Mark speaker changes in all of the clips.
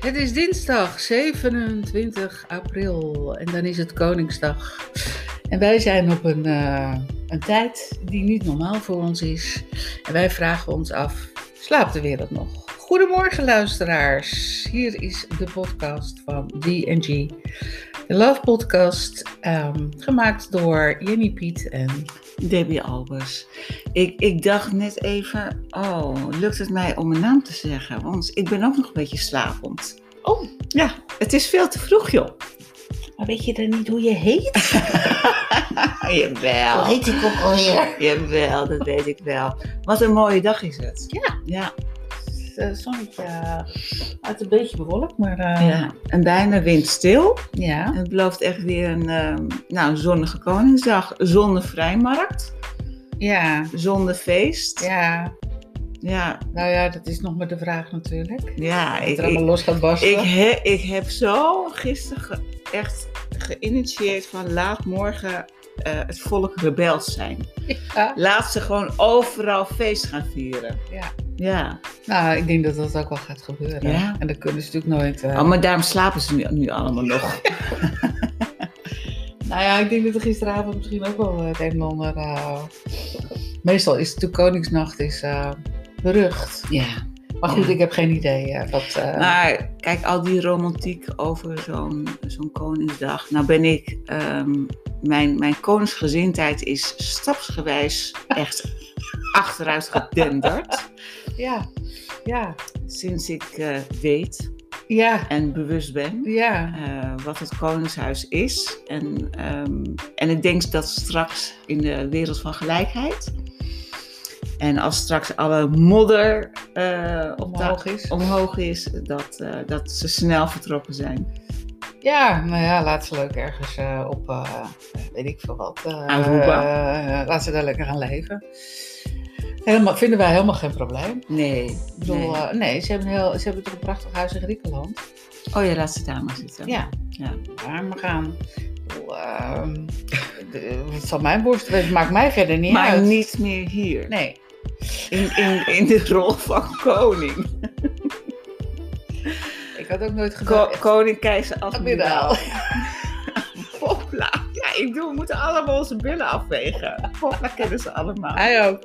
Speaker 1: Het is dinsdag 27 april en dan is het Koningsdag. En wij zijn op een, eh, een tijd die niet normaal voor ons is. En wij vragen ons af: slaapt de wereld nog? Goedemorgen, luisteraars. Hier is de podcast van DG. De Love Podcast, ehm, gemaakt door Jenny Piet en
Speaker 2: Debbie Albers. Ik, ik dacht net even, oh, lukt het mij om mijn naam te zeggen? Want ik ben ook nog een beetje slapend.
Speaker 1: Oh.
Speaker 2: Ja, het is veel te vroeg, joh.
Speaker 1: Maar weet je dan niet hoe je heet?
Speaker 2: Ah,
Speaker 1: Oh.
Speaker 2: Jawel.
Speaker 1: Nou, ik ook alweer?
Speaker 2: Jawel, dat weet ik wel. Wat een mooie dag is het.
Speaker 1: Ja.
Speaker 2: Ja,
Speaker 1: Het zonnetje eh, het een beetje bewolkt, maar eh,
Speaker 2: ja. en bijna windstil.
Speaker 1: ja.
Speaker 2: Het belooft echt weer een ehm, nou, een zonnige Koningsdag. Zonder vrijmarkt,
Speaker 1: Ja,
Speaker 2: zonder feest.
Speaker 1: ja.
Speaker 2: ja,
Speaker 1: Nou ja, dat is nog maar de vraag natuurlijk.
Speaker 2: ja
Speaker 1: Dat het
Speaker 2: ik,
Speaker 1: er
Speaker 2: ik-
Speaker 1: allemaal los gaat barsten.
Speaker 2: Ik, he- ik heb zo gisteren ge- echt geïnitieerd van laat morgen eh, het volk rebels zijn.
Speaker 1: Ja.
Speaker 2: Laat ze gewoon overal feest gaan vieren.
Speaker 1: Ja.
Speaker 2: Ja.
Speaker 1: Nou, ik denk dat dat ook wel gaat gebeuren.
Speaker 2: Ja.
Speaker 1: En dat kunnen ze natuurlijk nooit. eh,
Speaker 2: Oh, maar daarom slapen ze nu, nu allemaal nog.
Speaker 1: Nou ja, ik denk dat er gisteravond misschien ook wel het een en ander. eh, Meestal is het natuurlijk Koningsnacht is, eh, berucht.
Speaker 2: Ja.
Speaker 1: Maar goed,
Speaker 2: Ja. Nou.
Speaker 1: ik heb geen idee eh, wat. eh,
Speaker 2: Maar kijk, al die romantiek over zo'n zo'n Koningsdag. Nou ben ik, ehm, mijn, mijn koningsgezindheid is stapsgewijs echt achteruit gedenderd.
Speaker 1: Ja, ja,
Speaker 2: Sinds ik eh, weet
Speaker 1: ja,
Speaker 2: en bewust ben.
Speaker 1: ja.
Speaker 2: eh, wat het Koningshuis is. En, ehm, en ik denk dat straks in de wereld van gelijkheid. En als straks alle modder eh, op de-
Speaker 1: Omhoog is.
Speaker 2: omhoog is, dat, eh, dat ze snel vertrokken zijn.
Speaker 1: Ja, nou ja, laat ze leuk ergens eh, op, eh, weet ik veel wat. eh,
Speaker 2: Aan Aruba.
Speaker 1: eh, laat ze daar lekker aan leven. Helemaal, vinden wij helemaal geen probleem.
Speaker 2: Nee.
Speaker 1: Ik bedoel, eh,
Speaker 2: nee.
Speaker 1: nee, ze, hebben een heel, ze hebben toch een prachtig huis in Griekenland.
Speaker 2: oh ja, laat ze daar maar zitten.
Speaker 1: Ja,
Speaker 2: Ja.
Speaker 1: waar maar gaan. Ik bedoel, ehm, de- Het zal mijn borst Het maakt mij verder niet
Speaker 2: Maar
Speaker 1: uit.
Speaker 2: niet meer hier.
Speaker 1: Nee,
Speaker 2: In, in, in de rol van koning.
Speaker 1: ik had ook nooit
Speaker 2: Ko-
Speaker 1: gedacht.
Speaker 2: koning, keizer,
Speaker 1: Admiraal.
Speaker 2: admiraal. Popla. Ja, ik doe, we moeten allemaal onze billen afwegen. Popla kennen ze allemaal.
Speaker 1: Hij ook.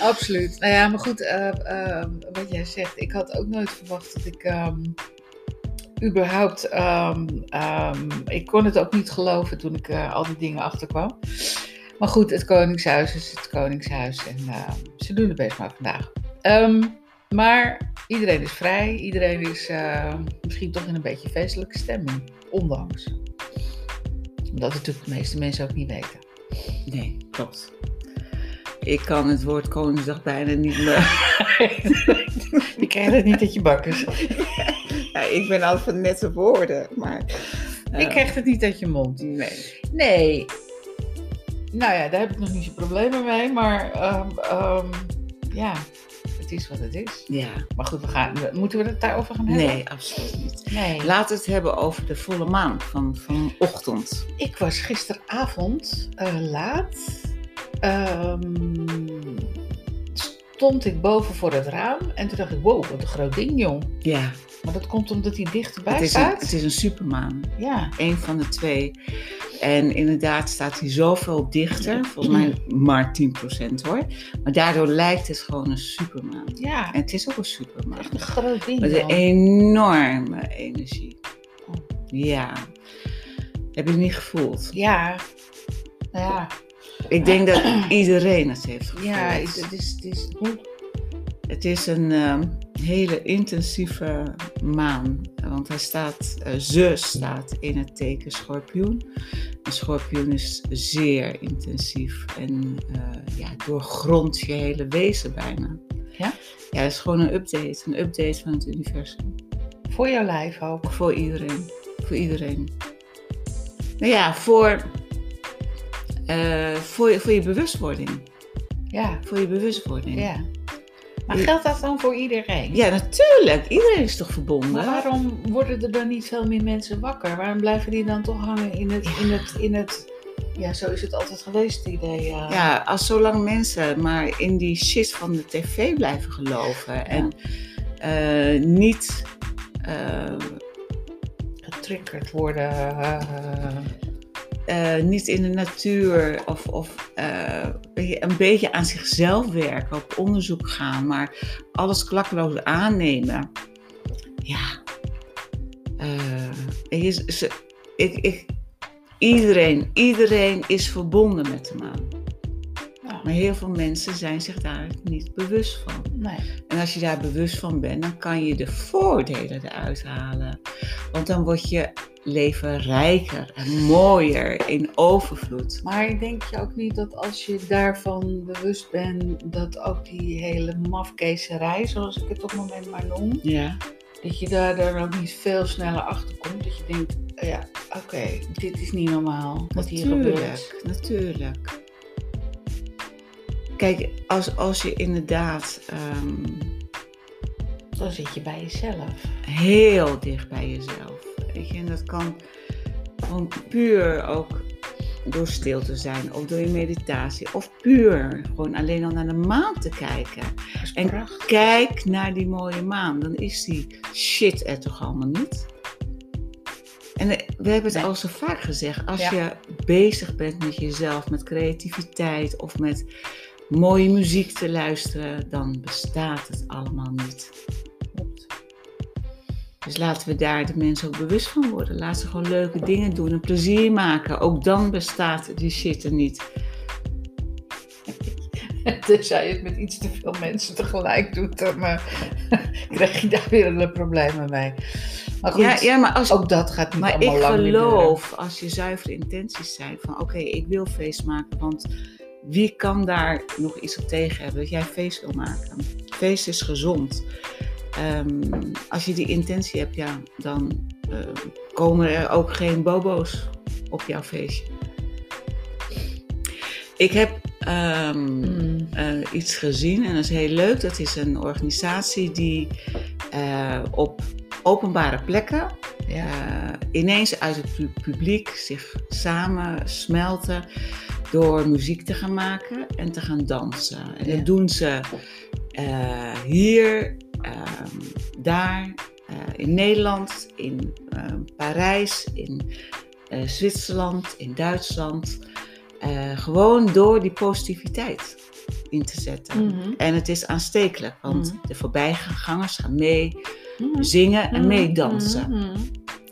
Speaker 1: Absoluut. Nou ja, maar goed, eh, eh, wat jij zegt. Ik had ook nooit verwacht dat ik ehm, überhaupt... ehm, ehm, ik kon het ook niet geloven toen ik eh, al die dingen achterkwam. Maar goed, het Koningshuis is het Koningshuis. En eh, ze doen het best maar vandaag. Ehm, maar iedereen is vrij. Iedereen is eh, misschien toch in een beetje feestelijke stemming. Ondanks. Omdat het natuurlijk de meeste mensen ook niet weten.
Speaker 2: Nee, klopt. Ik kan het woord Koningsdag bijna niet meer.
Speaker 1: Je krijgt het niet uit je dus bakkers.
Speaker 2: Ja, ik ben altijd van nette woorden, maar. eh,
Speaker 1: Ik krijg het niet uit je mond.
Speaker 2: Nee.
Speaker 1: Nee. Nou ja, daar heb ik nog niet zo'n problemen mee. Maar ehm, ehm, ja, het is wat het is.
Speaker 2: Ja,
Speaker 1: Maar goed, we gaan, we- moeten we het daarover gaan hebben?
Speaker 2: nee, absoluut niet.
Speaker 1: Nee.
Speaker 2: Laten we het hebben over de volle maan van vanochtend.
Speaker 1: Ik was gisteravond eh, laat. Ehm, stond ik boven voor het raam. En toen dacht ik, wow, wat een groot ding, joh.
Speaker 2: Ja,
Speaker 1: Maar dat komt omdat hij dichterbij
Speaker 2: het is, een,
Speaker 1: staat.
Speaker 2: het is een supermaan.
Speaker 1: Ja.
Speaker 2: Eén van de twee. En inderdaad staat hij zoveel dichter. Volgens mij maar 10% hoor. Maar daardoor lijkt het gewoon een supermaan.
Speaker 1: Ja.
Speaker 2: En het is ook een supermaan.
Speaker 1: Echt een groot ding,
Speaker 2: Met een
Speaker 1: joh.
Speaker 2: enorme energie.
Speaker 1: Oh.
Speaker 2: Ja. Heb je het niet gevoeld?
Speaker 1: Ja. Nou ja.
Speaker 2: Ik denk dat iedereen het heeft gevoeld.
Speaker 1: Ja, het, het is, het is goed.
Speaker 2: Het is een ehm, hele intensieve maan. Want hij staat, eh, ze staat in het teken schorpioen. En schorpioen is zeer intensief en eh ja, doorgrondt je hele wezen bijna.
Speaker 1: Ja?
Speaker 2: Ja, het is gewoon een update. Een update van het universum.
Speaker 1: voor jouw lijf ook.
Speaker 2: Voor iedereen. Voor iedereen. Nou ja, voor, eh, voor, je- voor je bewustwording.
Speaker 1: Ja,
Speaker 2: Voor je bewustwording.
Speaker 1: ja. Maar
Speaker 2: Ja.
Speaker 1: geldt dat dan voor iedereen?
Speaker 2: Ja, natuurlijk. Iedereen is toch verbonden?
Speaker 1: Maar waarom worden er dan niet veel meer mensen wakker? Waarom blijven die dan toch hangen in het, in het, in het... Ja, zo is het altijd geweest, het idee. eh, Ja.
Speaker 2: Ja, als zolang mensen maar in die shit van de tv blijven geloven en eh, niet eh,
Speaker 1: Getriggerd worden. eh,
Speaker 2: eh, niet in de natuur of, of eh, weet je, een beetje aan zichzelf werken, op onderzoek gaan, maar alles klakkeloos aannemen. Ja. Eh, weet je, ze- ik, ik, iedereen, iedereen is verbonden met de maan.
Speaker 1: nou,
Speaker 2: Maar heel veel mensen zijn zich daar niet bewust van.
Speaker 1: nee.
Speaker 2: En als je daar bewust van bent, dan kan je de voordelen eruit halen. Want dan wordt je leven rijker en mooier in overvloed.
Speaker 1: Maar denk je ook niet dat als je daarvan bewust bent, dat ook die hele mafkeeserij, zoals ik het op het moment maar noem,
Speaker 2: Ja.
Speaker 1: dat je daar dan ook niet veel sneller achter komt? Dat je denkt, ja, oké, dit is niet normaal wat hier gebeurt.
Speaker 2: Natuurlijk, natuurlijk. Kijk, als, als je inderdaad ehm,
Speaker 1: Dan zit je bij jezelf.
Speaker 2: heel dicht bij jezelf. Weet je, en dat kan gewoon puur ook door stil te zijn of door je meditatie. Of puur gewoon alleen al naar de maan te kijken.
Speaker 1: Dat is
Speaker 2: En-
Speaker 1: prachtig.
Speaker 2: Kijk naar die mooie maan, dan is die shit er toch allemaal niet. En eh, we hebben het
Speaker 1: Nee.
Speaker 2: al zo vaak gezegd, als
Speaker 1: Ja.
Speaker 2: je bezig bent met jezelf, met creativiteit of met mooie muziek te luisteren, dan bestaat het allemaal niet.
Speaker 1: Klopt.
Speaker 2: Dus laten we daar de mensen ook bewust van worden. Laat ze gewoon leuke dingen doen en plezier maken. Ook dan bestaat die shit er niet.
Speaker 1: Tenzij je het met iets te veel mensen tegelijk doet, dan eh, krijg je daar weer een problemen mee. Maar goed,
Speaker 2: Ja, ja, maar als,
Speaker 1: ook dat gaat niet
Speaker 2: Maar ik
Speaker 1: allemaal lang meer duren.
Speaker 2: geloof, als je zuivere intenties zijn, van oké, ik wil feest maken, want wie kan daar nog iets op tegen hebben dat jij feest wil maken? Feest is gezond. Ehm, als je die intentie hebt, ja, dan ehm, komen er ook geen bobo's op jouw feestje. Ik heb ehm,
Speaker 1: Mm.
Speaker 2: eh, iets gezien en dat is heel leuk. Dat is een organisatie die eh, op openbare plekken
Speaker 1: Ja.
Speaker 2: eh, ineens uit het pu- publiek zich samen smelten door muziek te gaan maken en te gaan dansen. En
Speaker 1: Ja.
Speaker 2: dat doen ze eh, hier, ehm, daar, eh, in Nederland, in ehm, Parijs, in eh, Zwitserland, in Duitsland. Eh, gewoon door die positiviteit in te zetten.
Speaker 1: Mhm.
Speaker 2: En het is aanstekelijk, want de voorbijgangers gaan mee
Speaker 1: Mhm.
Speaker 2: zingen en meedansen.
Speaker 1: Mhm.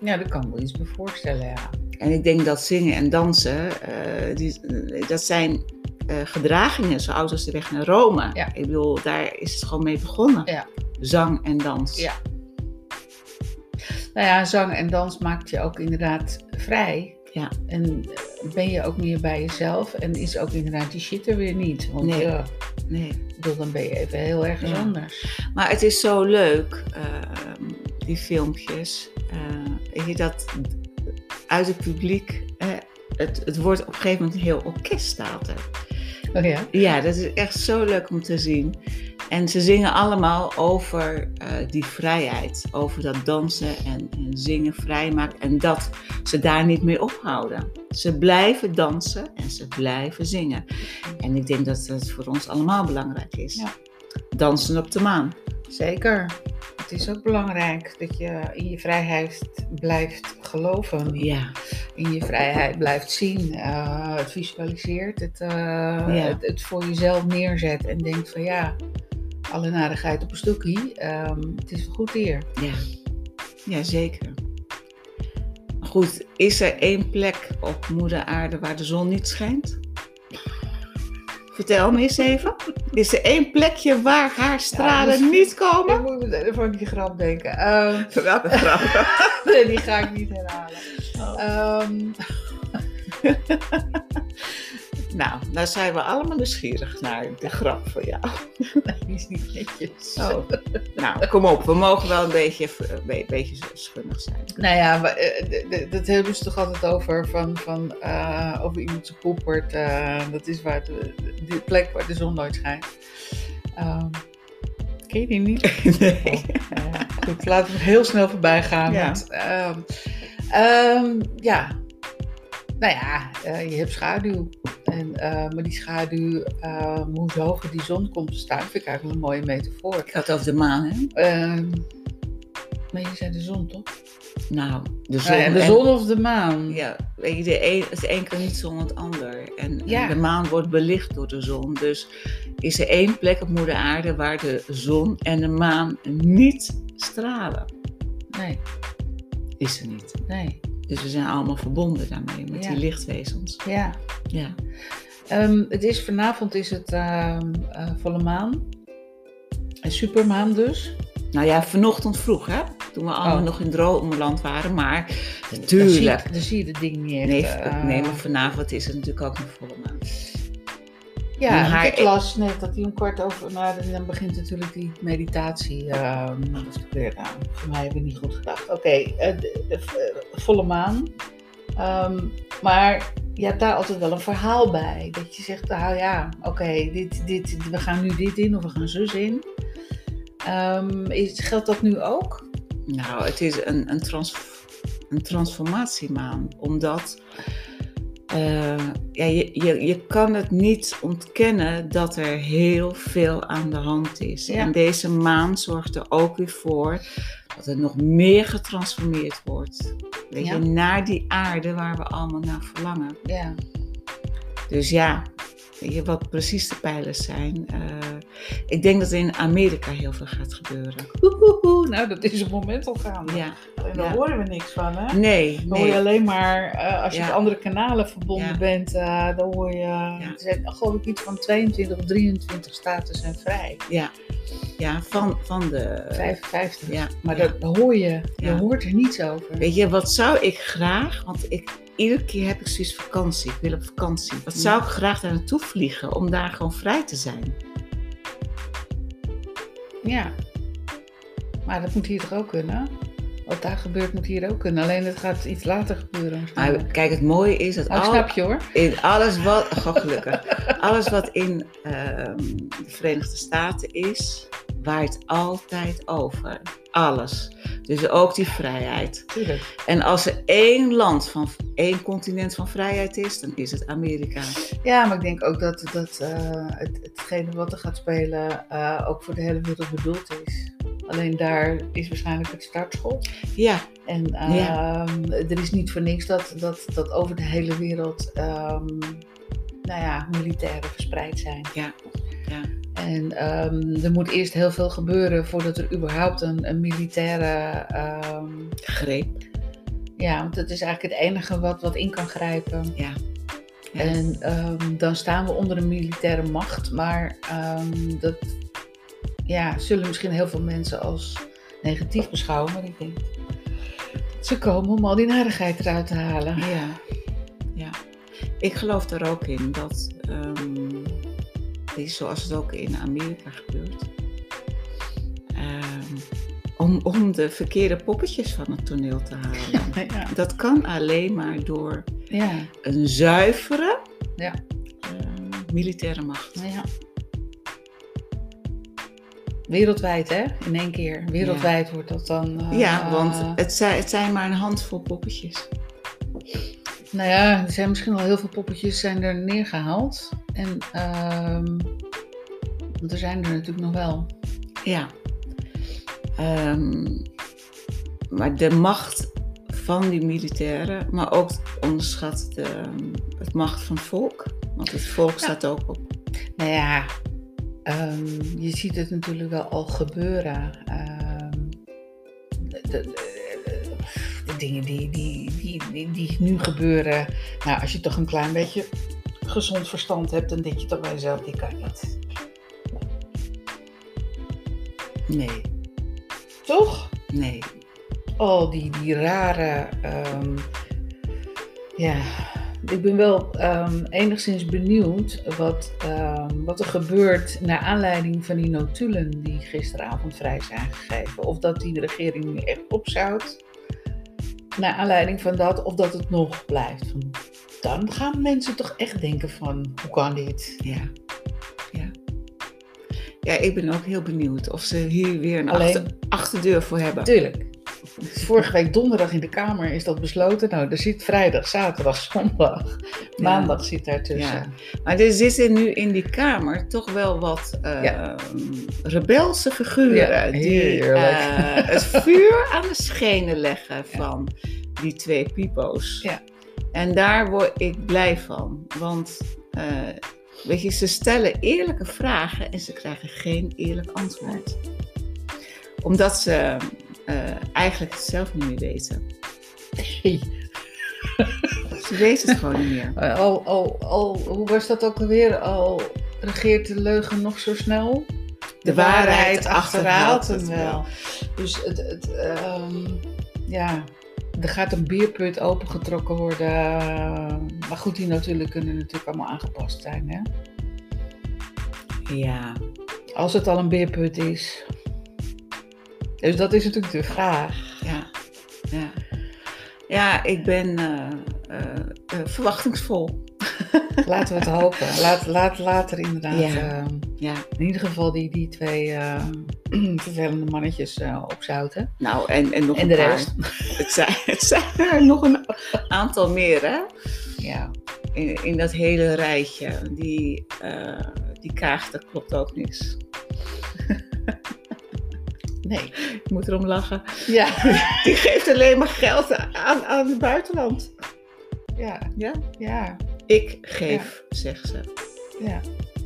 Speaker 1: Ja, daar kan ik me iets bij voorstellen, ja.
Speaker 2: En ik denk dat zingen en dansen, eh, die, dat zijn eh, gedragingen zo oud als de weg naar Rome.
Speaker 1: Ja.
Speaker 2: Ik bedoel, daar is het gewoon mee begonnen.
Speaker 1: Ja.
Speaker 2: Zang en dans.
Speaker 1: Ja. Nou ja, zang en dans maakt je ook inderdaad vrij.
Speaker 2: Ja.
Speaker 1: En ben je ook meer bij jezelf en is ook inderdaad die shit er weer niet. Want
Speaker 2: Nee.
Speaker 1: ja,
Speaker 2: Nee.
Speaker 1: ik bedoel, dan ben je even heel ergens
Speaker 2: Ja.
Speaker 1: anders.
Speaker 2: Maar het is zo leuk, eh, die filmpjes. Eh, weet je, dat uit het publiek, eh, het, het wordt op een gegeven moment een heel orkest staat er.
Speaker 1: Oh ja?
Speaker 2: Ja, dat is echt zo leuk om te zien. En ze zingen allemaal over eh, die vrijheid. Over dat dansen en, en zingen vrij maakt. En dat ze daar niet mee ophouden. Ze blijven dansen en ze blijven zingen. En ik denk dat dat voor ons allemaal belangrijk is.
Speaker 1: Ja.
Speaker 2: Dansen op de maan.
Speaker 1: Zeker. Het is ook belangrijk dat je in je vrijheid blijft geloven.
Speaker 2: Ja,
Speaker 1: In je vrijheid blijft zien. eh, het visualiseert, het, eh, het, het voor jezelf neerzet en denkt van ja, alle narigheid op een stukje. ehm, het is wel goed hier.
Speaker 2: ja. ja zeker. Maar Goed, is er één plek op moeder aarde waar de zon niet schijnt? Vertel me eens even. Is er één plekje waar haar stralen
Speaker 1: Ja, dus-
Speaker 2: niet komen?
Speaker 1: Ik moet meteen even aan die grap denken. Ehm,
Speaker 2: Welke grap.
Speaker 1: nee, die ga ik niet herhalen.
Speaker 2: Oh.
Speaker 1: Ehm,
Speaker 2: Nou, daar zijn we allemaal nieuwsgierig naar de grap van jou.
Speaker 1: die is niet netjes.
Speaker 2: Oh. Nou, kom op. We mogen wel een beetje, een beetje schunnig zijn.
Speaker 1: Nou ja, maar, eh, d- d- dat hebben ze toch altijd over van, van eh, over iemand zijn poep wordt. eh, dat is waar de, de plek waar de zon nooit schijnt. Ehm, ken je die niet?
Speaker 2: Nee.
Speaker 1: Nou ja, goed, laten we heel snel voorbij gaan.
Speaker 2: Ja.
Speaker 1: want, ehm, ehm, ja. Nou ja, eh, je hebt schaduw. En, eh, maar die schaduw, eh, hoe hoger die zon komt te staan, vind ik eigenlijk een mooie metafoor.
Speaker 2: Ik had het over de maan, hè?
Speaker 1: Ehm, Maar je zei de zon, toch?
Speaker 2: Nou, de zon.
Speaker 1: Ah, ja, de
Speaker 2: en-
Speaker 1: zon of de maan?
Speaker 2: ja, weet je, de een, het een kan niet zonder het ander. En, en
Speaker 1: Ja.
Speaker 2: de maan wordt belicht door de zon. Dus is er één plek op moeder aarde waar de zon en de maan niet stralen.
Speaker 1: Nee,
Speaker 2: Is er niet.
Speaker 1: nee.
Speaker 2: Dus we zijn allemaal verbonden daarmee, met
Speaker 1: Ja.
Speaker 2: die lichtwezens.
Speaker 1: Ja.
Speaker 2: Ja.
Speaker 1: Ehm, het is, vanavond is het ehm, eh, volle maan. Een supermaan dus.
Speaker 2: Nou ja, vanochtend vroeg, hè? Toen we allemaal
Speaker 1: Oh.
Speaker 2: nog in droomland waren, maar
Speaker 1: Daar zie,
Speaker 2: natuurlijk.
Speaker 1: ik- daar zie je het ding niet echt.
Speaker 2: Nee,
Speaker 1: eh,
Speaker 2: nee, maar vanavond is het natuurlijk ook nog volle maan.
Speaker 1: ja,
Speaker 2: mijn
Speaker 1: want
Speaker 2: haar-
Speaker 1: ik las net dat hij om kwart over... Nou, dan begint natuurlijk die meditatie. ehm dat is weer, nou, voor mij hebben we niet goed gedacht. Oké, eh, de- de v- volle maan. Ehm, maar je hebt daar altijd wel een verhaal bij. Dat je zegt, nou ja, oké, dit, dit, we gaan nu dit in of we gaan zus in. Ehm, is, geldt dat nu ook?
Speaker 2: Nou, het is een, een, trans, een transformatiemaan. Omdat eh, ja, je, je, je kan het niet ontkennen dat er heel veel aan de hand is.
Speaker 1: Ja.
Speaker 2: En deze maan zorgt er ook weer voor dat er nog meer getransformeerd wordt. Weet
Speaker 1: Ja.
Speaker 2: je, naar die aarde waar we allemaal naar verlangen.
Speaker 1: Ja,
Speaker 2: Dus ja, weet je, wat precies de pijlers zijn. eh, ik denk dat er in Amerika heel veel gaat gebeuren.
Speaker 1: Oehoehoe, nou dat is op het moment al gaande.
Speaker 2: Ja.
Speaker 1: Alleen
Speaker 2: ja.
Speaker 1: horen we niks van, hè? Dan
Speaker 2: Nee,
Speaker 1: hoor
Speaker 2: nee.
Speaker 1: je alleen maar, eh, als je
Speaker 2: Ja.
Speaker 1: met andere kanalen verbonden
Speaker 2: Ja.
Speaker 1: bent, eh, dan hoor je, er zijn geloof ik iets van 22 of 23 staten zijn vrij.
Speaker 2: Ja, ja van, van de.
Speaker 1: 55.
Speaker 2: Ja,
Speaker 1: Maar
Speaker 2: Eh, ja.
Speaker 1: dat hoor je, je
Speaker 2: Ja.
Speaker 1: hoort er niets over.
Speaker 2: Weet je, wat zou ik graag, want ik, iedere keer heb ik zoiets vakantie, ik wil op vakantie. Wat
Speaker 1: Ja.
Speaker 2: zou ik graag daar naartoe vliegen om daar gewoon vrij te zijn?
Speaker 1: Ja. Maar dat moet hier toch ook kunnen? Wat daar gebeurt moet hier ook kunnen. Alleen het gaat iets later gebeuren.
Speaker 2: Maar kijk, het mooie is dat
Speaker 1: Oh,
Speaker 2: al-
Speaker 1: snap je hoor.
Speaker 2: in alles wat, goh, gelukkig, alles wat in ehm, de Verenigde Staten is, waait altijd over. Alles. Dus ook die vrijheid.
Speaker 1: Tuurlijk.
Speaker 2: En als er één land van één continent van vrijheid is, dan is het Amerika.
Speaker 1: Ja, maar ik denk ook dat, dat eh, het, hetgene wat er gaat spelen eh, ook voor de hele wereld bedoeld is. Alleen daar is waarschijnlijk het startschot.
Speaker 2: Ja,
Speaker 1: En ehm, er is niet voor niks dat, dat, dat over de hele wereld ehm, nou ja, militairen verspreid zijn.
Speaker 2: Ja, ja.
Speaker 1: En ehm, er moet eerst heel veel gebeuren voordat er überhaupt een, een militaire ehm,
Speaker 2: greep.
Speaker 1: Ja, want dat is eigenlijk het enige wat, wat in kan grijpen.
Speaker 2: Ja. Ja.
Speaker 1: En ehm, dan staan we onder een militaire macht, maar ehm, dat ja, zullen misschien heel veel mensen als negatief beschouwen. Maar ik denk, ze komen om al die narigheid eruit te halen.
Speaker 2: Ja, ja. Ik geloof daar ook in dat, ehm, weet je, zoals het ook in Amerika gebeurt, ehm, om, om de verkeerde poppetjes van het toneel te halen.
Speaker 1: Ja,
Speaker 2: dat kan alleen maar door
Speaker 1: ja,
Speaker 2: een zuivere
Speaker 1: Ja.
Speaker 2: ehm, militaire macht.
Speaker 1: ja. Wereldwijd, hè? In één keer. Wereldwijd wordt dat dan. eh,
Speaker 2: Ja,
Speaker 1: eh,
Speaker 2: want het zijn, het zijn maar een handvol poppetjes.
Speaker 1: Nou ja, er zijn misschien al heel veel poppetjes zijn er neergehaald. En ehm, want er zijn er natuurlijk nog wel.
Speaker 2: Ja. Ehm, maar de macht van die militairen, maar ook onderschat de ehm, het macht van het volk. Want het volk staat ook op.
Speaker 1: Nou ja, ehm, je ziet het natuurlijk wel al gebeuren. Ehm, de, de- de- de eh, dingen die, die, die, die, die nu gebeuren. Nou, als je toch een klein beetje gezond verstand hebt, dan denk je toch bij jezelf, die kan niet.
Speaker 2: Nee,
Speaker 1: Toch?
Speaker 2: nee.
Speaker 1: al die, die rare. ehm, ja, ik ben wel ehm, enigszins benieuwd wat, ehm, wat er gebeurt naar aanleiding van die notulen die gisteravond vrij zijn gegeven. Of dat die de regering nu echt opzout. Naar aanleiding van dat, of dat het nog blijft. Van, Dan gaan mensen toch echt denken van, hoe kan dit?
Speaker 2: Ja. ja. Ja, ik ben ook heel benieuwd of ze hier weer een
Speaker 1: Alleen-
Speaker 2: achter- achterdeur voor hebben.
Speaker 1: Tuurlijk. Vorige week donderdag in de Kamer is dat besloten. Nou, er zit vrijdag, zaterdag, zondag, maandag zit daartussen.
Speaker 2: Ja. Maar er zitten nu in die kamer toch wel wat eh, rebelse figuren
Speaker 1: Ja,
Speaker 2: die
Speaker 1: heerlijk.
Speaker 2: eh, het vuur aan de schenen leggen
Speaker 1: Ja.
Speaker 2: van die twee pipo's.
Speaker 1: Ja.
Speaker 2: En daar word ik blij van, want eh, weet je, ze stellen eerlijke vragen en ze krijgen geen eerlijk antwoord. Omdat ze eh, eigenlijk het zelf niet meer weten. Ze weten het gewoon niet meer.
Speaker 1: Eh, Al, al, al, hoe was dat ook alweer? Al regeert de leugen nog zo snel?
Speaker 2: De waarheid achterhaalt het
Speaker 1: hem
Speaker 2: wel.
Speaker 1: Dus het, het, ehm, ja, er gaat een bierput opengetrokken worden. Maar goed, die natuurlijk kunnen natuurlijk allemaal aangepast zijn. Hè?
Speaker 2: Ja.
Speaker 1: Als het al een beerput is. Dus dat is natuurlijk de vraag.
Speaker 2: Ja, ja. ja ik ben eh, eh, eh, verwachtingsvol.
Speaker 1: Laten we het hopen. Laat, laat, later inderdaad.
Speaker 2: Ja.
Speaker 1: ehm,
Speaker 2: Ja.
Speaker 1: in ieder geval die, die twee eh, vervelende mannetjes eh, opzouten.
Speaker 2: Nou, en, en nog
Speaker 1: En
Speaker 2: een
Speaker 1: de
Speaker 2: paar.
Speaker 1: rest.
Speaker 2: Het zijn, het zijn er nog een aantal meer, hè?
Speaker 1: Ja.
Speaker 2: In, in dat hele rijtje. Die, eh die kaag, dat klopt ook niks.
Speaker 1: Nee.
Speaker 2: Ik moet erom lachen.
Speaker 1: Ja.
Speaker 2: Die geeft alleen maar geld aan, aan het buitenland.
Speaker 1: Ja.
Speaker 2: Ja?
Speaker 1: Ja.
Speaker 2: Ik geef, zegt ze.
Speaker 1: Ja,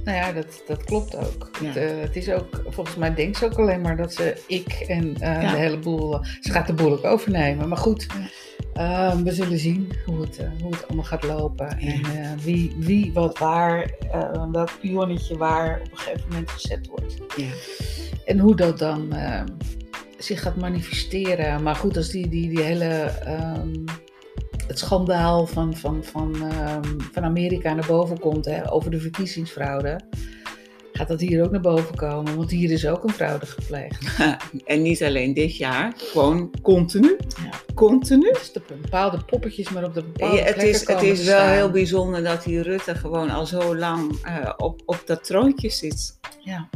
Speaker 1: nou ja, dat, dat klopt ook.
Speaker 2: Ja.
Speaker 1: Het, eh, het is ook, volgens mij denkt ze ook alleen maar dat ze ik en eh,
Speaker 2: Ja.
Speaker 1: de hele boel, eh, ze gaat de boel ook overnemen. Maar goed, ehm, we zullen zien hoe het, eh, hoe het allemaal gaat lopen.
Speaker 2: Ja.
Speaker 1: En eh, wie, wie wat waar, eh, welk pionnetje waar op een gegeven moment gezet wordt.
Speaker 2: Ja.
Speaker 1: En hoe dat dan eh, zich gaat manifesteren. Maar goed, als die, die, die hele... ehm, het schandaal van, van, van, ehm, van Amerika naar boven komt hè, over de verkiezingsfraude, gaat dat hier ook naar boven komen. Want hier is ook een fraude gepleegd.
Speaker 2: En niet alleen dit jaar, gewoon continu.
Speaker 1: Ja.
Speaker 2: Continu.
Speaker 1: Dus de bepaalde poppetjes maar op de bepaalde
Speaker 2: Ja, het
Speaker 1: plekken
Speaker 2: is, het
Speaker 1: komen
Speaker 2: is
Speaker 1: te
Speaker 2: wel
Speaker 1: staan.
Speaker 2: heel bijzonder dat die Rutte gewoon al zo lang eh, op, op dat troontje zit.
Speaker 1: Ja.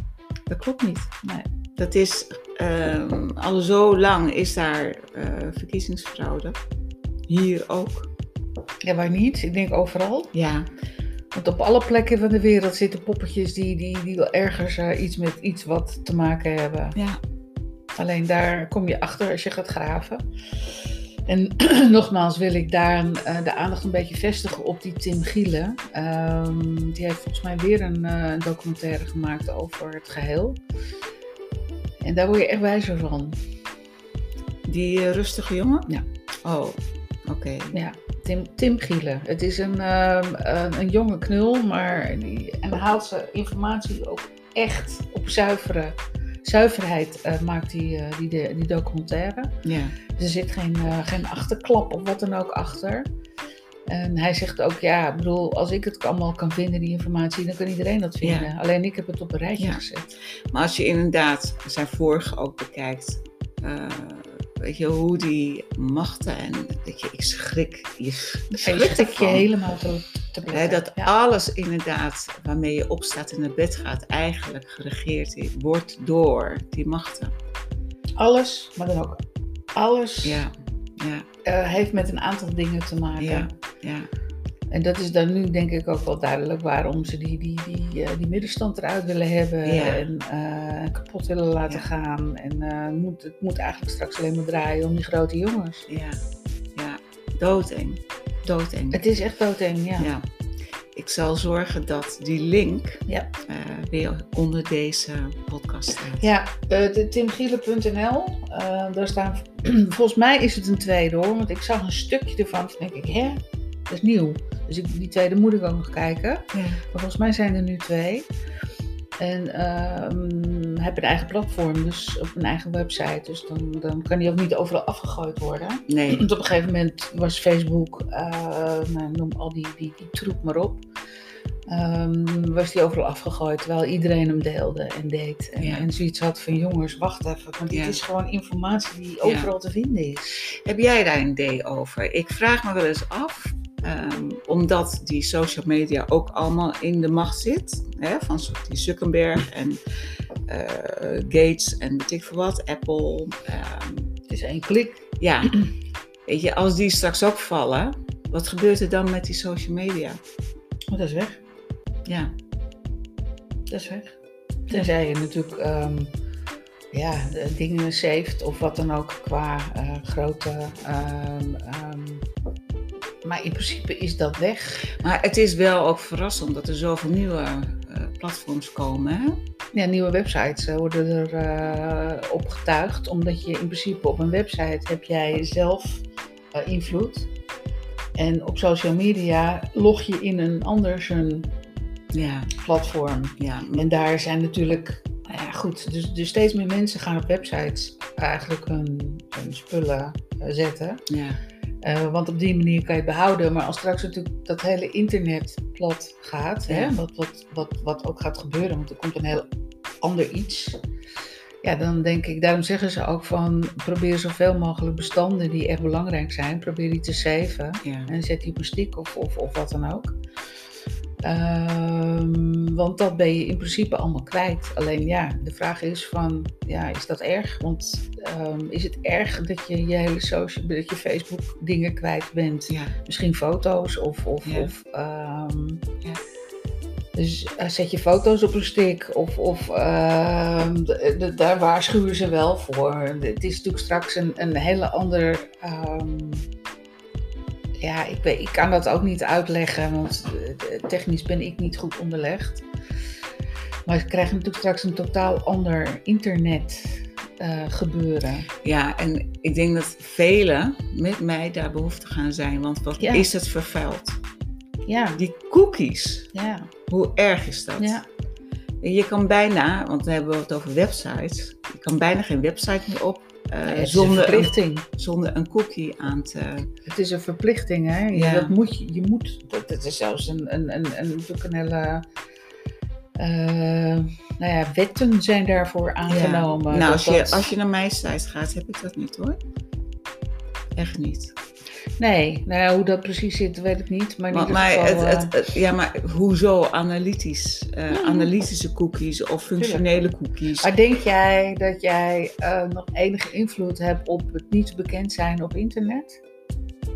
Speaker 2: Dat klopt niet.
Speaker 1: Nee.
Speaker 2: Dat is, ehm, al zo lang is daar eh, verkiezingsfraude. Hier ook.
Speaker 1: Ja, waar niet? Ik denk overal.
Speaker 2: Ja.
Speaker 1: Want op alle plekken van de wereld zitten poppetjes die, die, die wel ergens eh, iets met iets wat te maken hebben.
Speaker 2: ja.
Speaker 1: Alleen daar kom je achter als je gaat graven. En nogmaals wil ik daar eh, de aandacht een beetje vestigen op die Tim Gielen. Ehm, die heeft volgens mij weer een eh, een documentaire gemaakt over het geheel. En daar word je echt wijzer van.
Speaker 2: Die eh, rustige jongen?
Speaker 1: Ja.
Speaker 2: Oh, oké.
Speaker 1: Ja, Tim, Tim Gielen. Het is een, ehm, een, een jonge knul, maar die, en haalt ze informatie ook echt op zuivere, zuiverheid, eh, maakt die, eh, die, de- die documentaire.
Speaker 2: Ja.
Speaker 1: Er zit geen, eh, geen achterklap of wat dan ook achter. En hij zegt ook, ja, ik bedoel, als ik het allemaal kan vinden, die informatie, dan kan iedereen dat
Speaker 2: Ja.
Speaker 1: vinden. Alleen ik heb het op een rijtje
Speaker 2: Ja.
Speaker 1: gezet.
Speaker 2: Maar als je inderdaad zijn vorige ook bekijkt, eh, weet je, hoe die machten en weet je, ik schrik, je
Speaker 1: Dan
Speaker 2: schrik
Speaker 1: schrik ik je
Speaker 2: ervan.
Speaker 1: helemaal te, te
Speaker 2: Hè,
Speaker 1: plekken.
Speaker 2: dat
Speaker 1: Ja.
Speaker 2: alles inderdaad waarmee je opstaat en naar bed gaat, eigenlijk geregeerd i- wordt door die machten.
Speaker 1: Alles, maar dan ook alles,
Speaker 2: Ja, ja,
Speaker 1: eh, heeft met een aantal dingen te maken.
Speaker 2: ja, ja.
Speaker 1: En dat is dan nu denk ik ook wel duidelijk waarom ze die, die, die, eh, die middenstand eruit willen hebben
Speaker 2: Ja.
Speaker 1: en eh, kapot willen laten
Speaker 2: Ja.
Speaker 1: gaan. En eh, het moet, het moet eigenlijk straks alleen maar draaien om die grote jongens.
Speaker 2: ja, ja. Doodeng, doodeng.
Speaker 1: Het is echt doodeng, ja.
Speaker 2: Ja. Ik zal zorgen dat die link
Speaker 1: Ja.
Speaker 2: eh, weer onder deze podcast staat.
Speaker 1: Ja, eh, de timgielen.nl. eh, daar staan, volgens mij is het een tweede hoor, want ik zag een stukje ervan. Toen denk ik, hè, dat is nieuw. Dus ik, die tweede moet ik ook nog kijken. Maar
Speaker 2: Ja.
Speaker 1: volgens mij zijn er nu twee. En ehm heb een eigen platform, dus op een eigen website. Dus dan, dan kan die ook niet overal afgegooid worden.
Speaker 2: Nee.
Speaker 1: Want op een gegeven moment was Facebook, eh, nou, noem al die, die, die troep maar op, ehm, was die overal afgegooid, terwijl iedereen hem deelde en deed. En,
Speaker 2: Ja.
Speaker 1: en zoiets had van jongens, wacht even, want dit
Speaker 2: Ja.
Speaker 1: is gewoon informatie die overal te vinden is.
Speaker 2: Heb jij daar een idee over? Ik vraag me wel eens af, ehm, omdat die social media ook allemaal in de macht zit, hè, van soort die Zuckerberg en eh, Gates en weet ik veel wat, Apple. ehm,
Speaker 1: Het is één klik.
Speaker 2: ja, weet je, als die straks ook vallen, wat gebeurt er dan met die social media?
Speaker 1: Want dat is weg.
Speaker 2: Ja,
Speaker 1: Dat is weg. Tenzij je natuurlijk ehm, ja, de dingen saved of wat dan ook qua eh, grote. ehm, ehm, maar in principe is dat weg.
Speaker 2: maar het is wel ook verrassend dat er zoveel nieuwe eh, platforms komen. Hè?
Speaker 1: Ja, nieuwe websites eh, worden er eh, opgetuigd. Omdat je in principe op een website heb jij zelf eh, invloed. En op social media log je in een ander zijn
Speaker 2: Ja,
Speaker 1: platform.
Speaker 2: ja.
Speaker 1: En daar zijn natuurlijk, nou ja goed, dus, dus steeds meer mensen gaan op websites eigenlijk hun, hun spullen eh, zetten.
Speaker 2: ja.
Speaker 1: Eh, want op die manier kan je het behouden. Maar als straks natuurlijk dat hele internet plat gaat,
Speaker 2: Ja.
Speaker 1: hè, wat, wat, wat, wat ook gaat gebeuren, want er komt een heel ander iets. Ja, dan denk ik, daarom zeggen ze ook van probeer zoveel mogelijk bestanden die echt belangrijk zijn, probeer die te saven.
Speaker 2: ja.
Speaker 1: En zet die op een stick of, of, of wat dan ook. Ehm, want dat ben je in principe allemaal kwijt. Alleen ja, de vraag is van, ja, is dat erg? Want ehm, is het erg dat je je hele social, dat je Facebook dingen kwijt bent?
Speaker 2: ja.
Speaker 1: Misschien foto's of, of,
Speaker 2: Ja.
Speaker 1: of ehm,
Speaker 2: Ja.
Speaker 1: dus eh, zet je foto's op een stick of, of ehm, d- d- daar waarschuwen ze wel voor. Het is natuurlijk straks een, een hele ander. ehm, ja, ik, weet, ik kan dat ook niet uitleggen, want eh, technisch ben ik niet goed onderlegd. Maar ze krijgen natuurlijk straks een totaal ander internet eh, gebeuren.
Speaker 2: Ja, en ik denk dat velen met mij daar behoefte gaan zijn. Want wat
Speaker 1: Ja.
Speaker 2: is het vervuild?
Speaker 1: Ja,
Speaker 2: Die cookies,
Speaker 1: ja,
Speaker 2: hoe erg is dat?
Speaker 1: ja.
Speaker 2: Je kan bijna, want dan hebben we het over websites. Je kan bijna geen website meer op eh,
Speaker 1: Het is een
Speaker 2: zonder, een,
Speaker 1: verplichting.
Speaker 2: zonder een cookie aan te...
Speaker 1: Het is een verplichting, hè?
Speaker 2: Ja.
Speaker 1: Dat moet je, je moet. Dat, dat is zelfs een, een, een, een, natuurlijk een hele. nou, eh, nou ja, wetten zijn daarvoor aangenomen.
Speaker 2: Nou,
Speaker 1: Dat
Speaker 2: als je,
Speaker 1: dat-
Speaker 2: als je naar mijn site gaat, heb ik dat niet hoor. Echt niet.
Speaker 1: Nee, nou ja, hoe dat precies zit, weet ik niet. Maar, in
Speaker 2: Maar,
Speaker 1: ieder
Speaker 2: maar,
Speaker 1: geval,
Speaker 2: het,
Speaker 1: eh,
Speaker 2: het, het- ja, maar hoezo analytisch? eh,
Speaker 1: Mhm.
Speaker 2: Analytische cookies of functionele cookies?
Speaker 1: maar denk jij dat jij eh, nog enige invloed hebt op het niet bekend zijn op internet?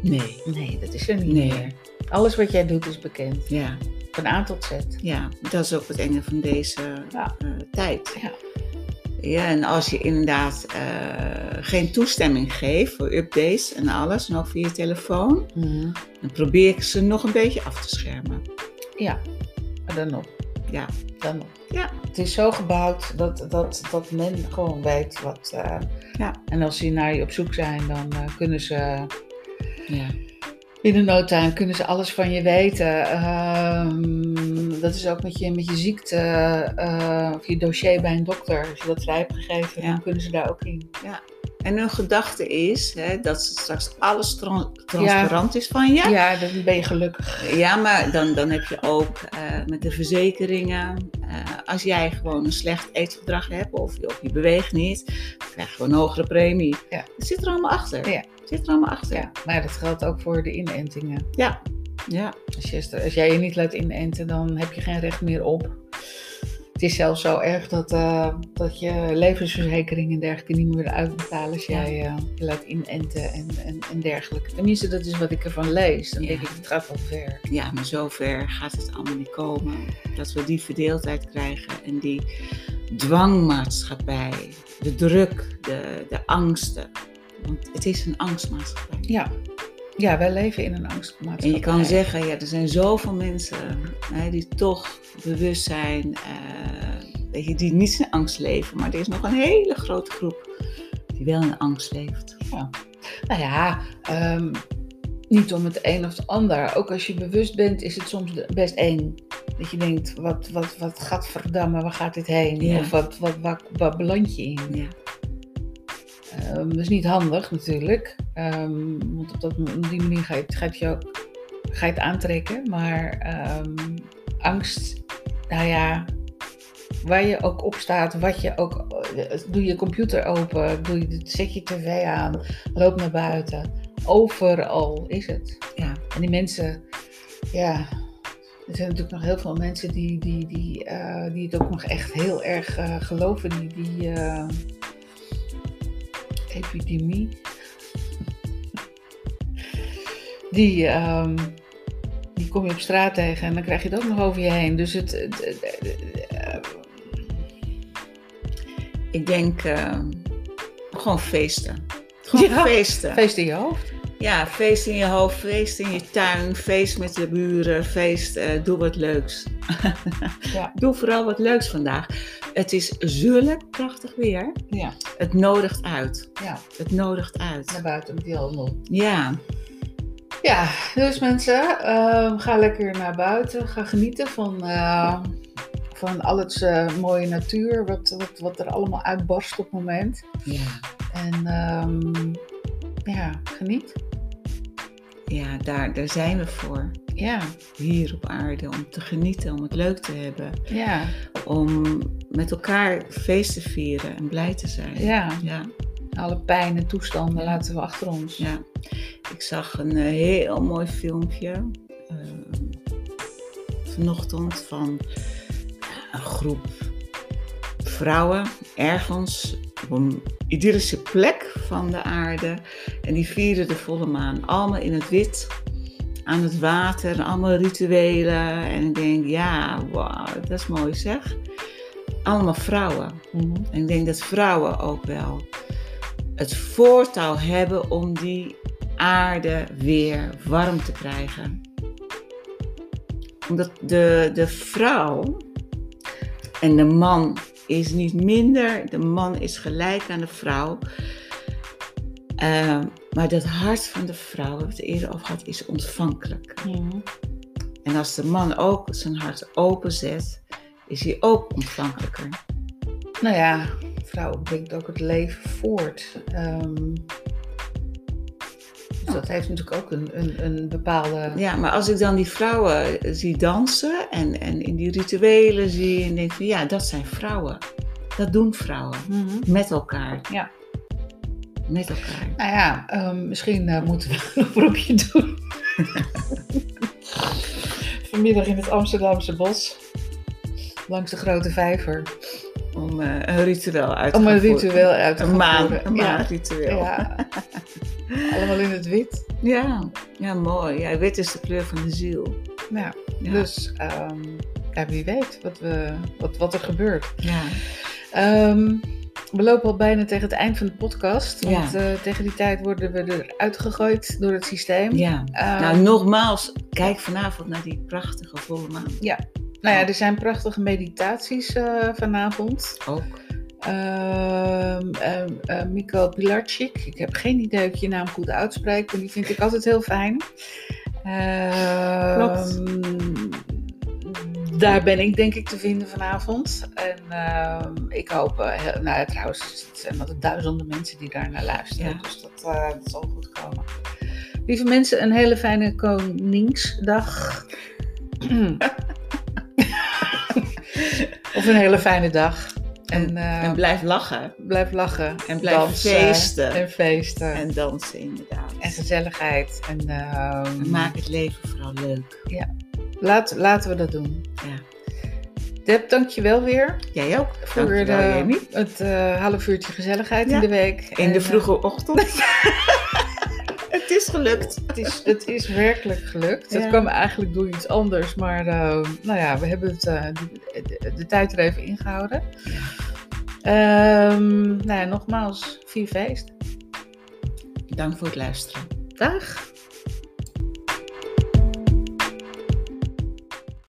Speaker 2: Nee.
Speaker 1: Nee, dat is er niet
Speaker 2: Nee.
Speaker 1: meer. Alles wat jij doet is bekend.
Speaker 2: Ja.
Speaker 1: Van A tot Z.
Speaker 2: Ja, dat is ook het enge van deze
Speaker 1: Ja.
Speaker 2: eh, tijd.
Speaker 1: Ja.
Speaker 2: Ja, en als je inderdaad eh, geen toestemming geeft voor updates en alles, en ook via je telefoon, dan probeer ik ze nog een beetje af te schermen.
Speaker 1: Ja, maar dan nog.
Speaker 2: Ja.
Speaker 1: Dan nog.
Speaker 2: Ja.
Speaker 1: Het is zo gebouwd dat, dat, dat men gewoon weet wat. eh,
Speaker 2: Ja.
Speaker 1: En als ze naar je op zoek zijn, dan eh, kunnen ze
Speaker 2: Ja.
Speaker 1: binnen no time kunnen ze alles van je weten. Ehm, dat is ook met je, met je ziekte eh, of je dossier bij een dokter. Als je dat vrij hebt gegeven,
Speaker 2: Ja.
Speaker 1: dan kunnen ze daar ook in.
Speaker 2: En hun gedachte is hè, dat ze straks alles tran- transparant is van je.
Speaker 1: Ja, dan ben je gelukkig.
Speaker 2: Ja, maar dan, dan heb je ook eh, met de verzekeringen. eh, als jij gewoon een slecht eetgedrag hebt of je, of je beweegt niet, dan krijg je gewoon een hogere premie.
Speaker 1: Ja.
Speaker 2: Dat zit er allemaal achter.
Speaker 1: Ja.
Speaker 2: Zit er allemaal achter.
Speaker 1: Ja, maar dat geldt ook voor de inentingen.
Speaker 2: Ja. ja.
Speaker 1: Als, je, als jij je niet laat inenten, dan heb je geen recht meer op. Het is zelfs zo erg dat, eh, dat je levensverzekering en dergelijke niet meer willen uitbetalen als jij eh, je laat inenten en, en, en dergelijke. Tenminste, dat is wat ik ervan lees. Dan
Speaker 2: Ja.
Speaker 1: denk ik, het gaat wel ver.
Speaker 2: Ja, maar zover gaat het allemaal niet komen. Dat we die verdeeldheid krijgen en die dwangmaatschappij, de druk, de, de angsten. Want het is een angstmaatschappij.
Speaker 1: Ja. ja, wij leven in een
Speaker 2: En
Speaker 1: angstmaatschappij.
Speaker 2: je kan zeggen, ja, er zijn zoveel mensen hè, die toch bewust zijn, eh, weet je, die niet in angst leven. Maar er is nog een hele grote groep die wel in angst leeft.
Speaker 1: Nou ja, ehm, niet om het een of het ander. Ook als je bewust bent, is het soms de- best eng. Dat je denkt, wat, wat, wat gaat verdammen, waar gaat dit heen?
Speaker 2: Ja.
Speaker 1: Of wat, wat, waar, waar beland je in?
Speaker 2: Ja,
Speaker 1: Ehm, dat is niet handig natuurlijk. Ehm, want op, dat, op die manier ga je, het- ga je, het je ook, ga je het aantrekken. Maar ehm, angst, nou ja, waar je ook op staat, wat je ook. eh, Doe je computer open, doe je, zet je tv aan, loop naar buiten. Overal is het.
Speaker 2: ja,
Speaker 1: En die mensen, ja. Er zijn natuurlijk nog heel veel mensen die, die, die, eh, die het ook nog echt heel erg eh, geloven. Die, die eh, epidemie. die, ehm, die kom je op straat tegen en dan krijg je het ook nog over je heen. Dus het, het- het- het- eh,
Speaker 2: Ik denk eh, gewoon feesten. Gewoon
Speaker 1: Ja.
Speaker 2: feesten.
Speaker 1: feest in je hoofd.
Speaker 2: Ja, feest in je hoofd, feest in je tuin, feest met de buren, feest, eh, doe wat leuks.
Speaker 1: Ja.
Speaker 2: Doe vooral wat leuks vandaag. Het is zulk prachtig weer.
Speaker 1: Ja,
Speaker 2: Het nodigt uit.
Speaker 1: ja,
Speaker 2: Het nodigt uit.
Speaker 1: naar buiten met die handel.
Speaker 2: Ja,
Speaker 1: Ja, dus mensen, ehm, ga lekker naar buiten. Ga genieten van, eh, van al het eh, mooie natuur, wat, wat, wat er allemaal uitbarst op het moment.
Speaker 2: ja,
Speaker 1: En ehm, ja, geniet.
Speaker 2: ja daar, daar zijn we voor.
Speaker 1: Ja,
Speaker 2: Hier op aarde om te genieten, om het leuk te hebben.
Speaker 1: ja,
Speaker 2: Om met elkaar feest te vieren en blij te zijn.
Speaker 1: ja.
Speaker 2: ja.
Speaker 1: Alle pijn en toestanden laten we achter ons.
Speaker 2: Ja, ik zag een eh, heel mooi filmpje eh, vanochtend van een groep vrouwen ergens op een idyllische plek van de aarde. En die vierden de volle maan, allemaal in het wit, aan het water, en allemaal rituelen. En ik denk, ja, wauw, dat is mooi zeg. Allemaal vrouwen.
Speaker 1: Mhm.
Speaker 2: En ik denk dat vrouwen ook wel het voortouw hebben om die aarde weer warm te krijgen. Omdat de, de vrouw en de man is niet minder, de man is gelijk aan de vrouw. Eh, maar dat hart van de vrouw, we hebben het eerder over gehad, is ontvankelijk.
Speaker 1: Mhm.
Speaker 2: En als de man ook zijn hart openzet, is hij ook ontvankelijker.
Speaker 1: Nou ja, vrouw brengt ook het leven voort. Ehm, dus dat heeft natuurlijk ook een, een, een bepaalde.
Speaker 2: Oh. Ja, maar als ik dan die vrouwen eh, zie dansen en, en in die rituelen zie en denk van ja, dat zijn vrouwen. Dat doen vrouwen.
Speaker 1: Mhm.
Speaker 2: Met elkaar.
Speaker 1: Ja.
Speaker 2: Met elkaar.
Speaker 1: Nou ja, ehm, misschien eh, moeten we een oproepje doen. Vanmiddag in het Amsterdamse bos. Langs de grote vijver.
Speaker 2: Om eh, een ritueel uit te
Speaker 1: Om een
Speaker 2: gaan voeren.
Speaker 1: ritueel uit te
Speaker 2: Een maan,
Speaker 1: voeren.
Speaker 2: een
Speaker 1: Ja.
Speaker 2: maanritueel. Ja.
Speaker 1: Ja. Allemaal in het wit.
Speaker 2: Ja. mooi. Ja, wit is de kleur van de ziel.
Speaker 1: Ja,
Speaker 2: Ja.
Speaker 1: Dus ehm, ja, wie weet wat, we, wat, wat er gebeurt.
Speaker 2: Ja.
Speaker 1: Ehm, we lopen al bijna tegen het eind van de podcast.
Speaker 2: Ja.
Speaker 1: Want eh, tegen die tijd worden we eruit gegooid door het systeem.
Speaker 2: ja.
Speaker 1: Ehm,
Speaker 2: nou, nogmaals, kijk vanavond naar die prachtige volle maan.
Speaker 1: nou ja, er zijn prachtige meditaties eh, vanavond.
Speaker 2: Ook.
Speaker 1: Ehm ehm, eh, Miko Pilarczyk. Ik heb geen idee of ik je naam goed uitspreek, maar die vind ik altijd heel fijn. Ehm,
Speaker 2: Klopt.
Speaker 1: Daar ben ik denk ik te vinden vanavond. En ehm, ik hoop, eh, heel- nou ja, trouwens, het zijn altijd duizenden mensen die daar naar luisteren.
Speaker 2: Ja.
Speaker 1: Dus dat, eh, dat zal goed komen. Lieve mensen, een hele fijne Koningsdag. of een hele fijne dag. En, eh,
Speaker 2: En blijf lachen.
Speaker 1: Blijf lachen.
Speaker 2: En blijf feesten.
Speaker 1: En feesten. En,
Speaker 2: En dansen inderdaad.
Speaker 1: gezelligheid. En, ehm,
Speaker 2: En maak het leven vooral leuk.
Speaker 1: laat, laten we dat doen.
Speaker 2: Ja.
Speaker 1: Deb, dankjewel weer
Speaker 2: Jij ook.
Speaker 1: voor
Speaker 2: Dankjewel,
Speaker 1: eh,
Speaker 2: Jamie.
Speaker 1: het eh half uurtje gezelligheid
Speaker 2: Ja.
Speaker 1: in de week.
Speaker 2: In
Speaker 1: En,
Speaker 2: de
Speaker 1: eh,
Speaker 2: vroege ochtend. het is gelukt.
Speaker 1: het, is, het is werkelijk gelukt.
Speaker 2: Ja.
Speaker 1: Het kwam eigenlijk door iets anders. Maar eh, nou ja, we hebben het, eh, de, de- de tijd er even ingehouden. Ehm, nou ja, nogmaals, vier feest.
Speaker 2: Dank voor het luisteren.
Speaker 1: Dag.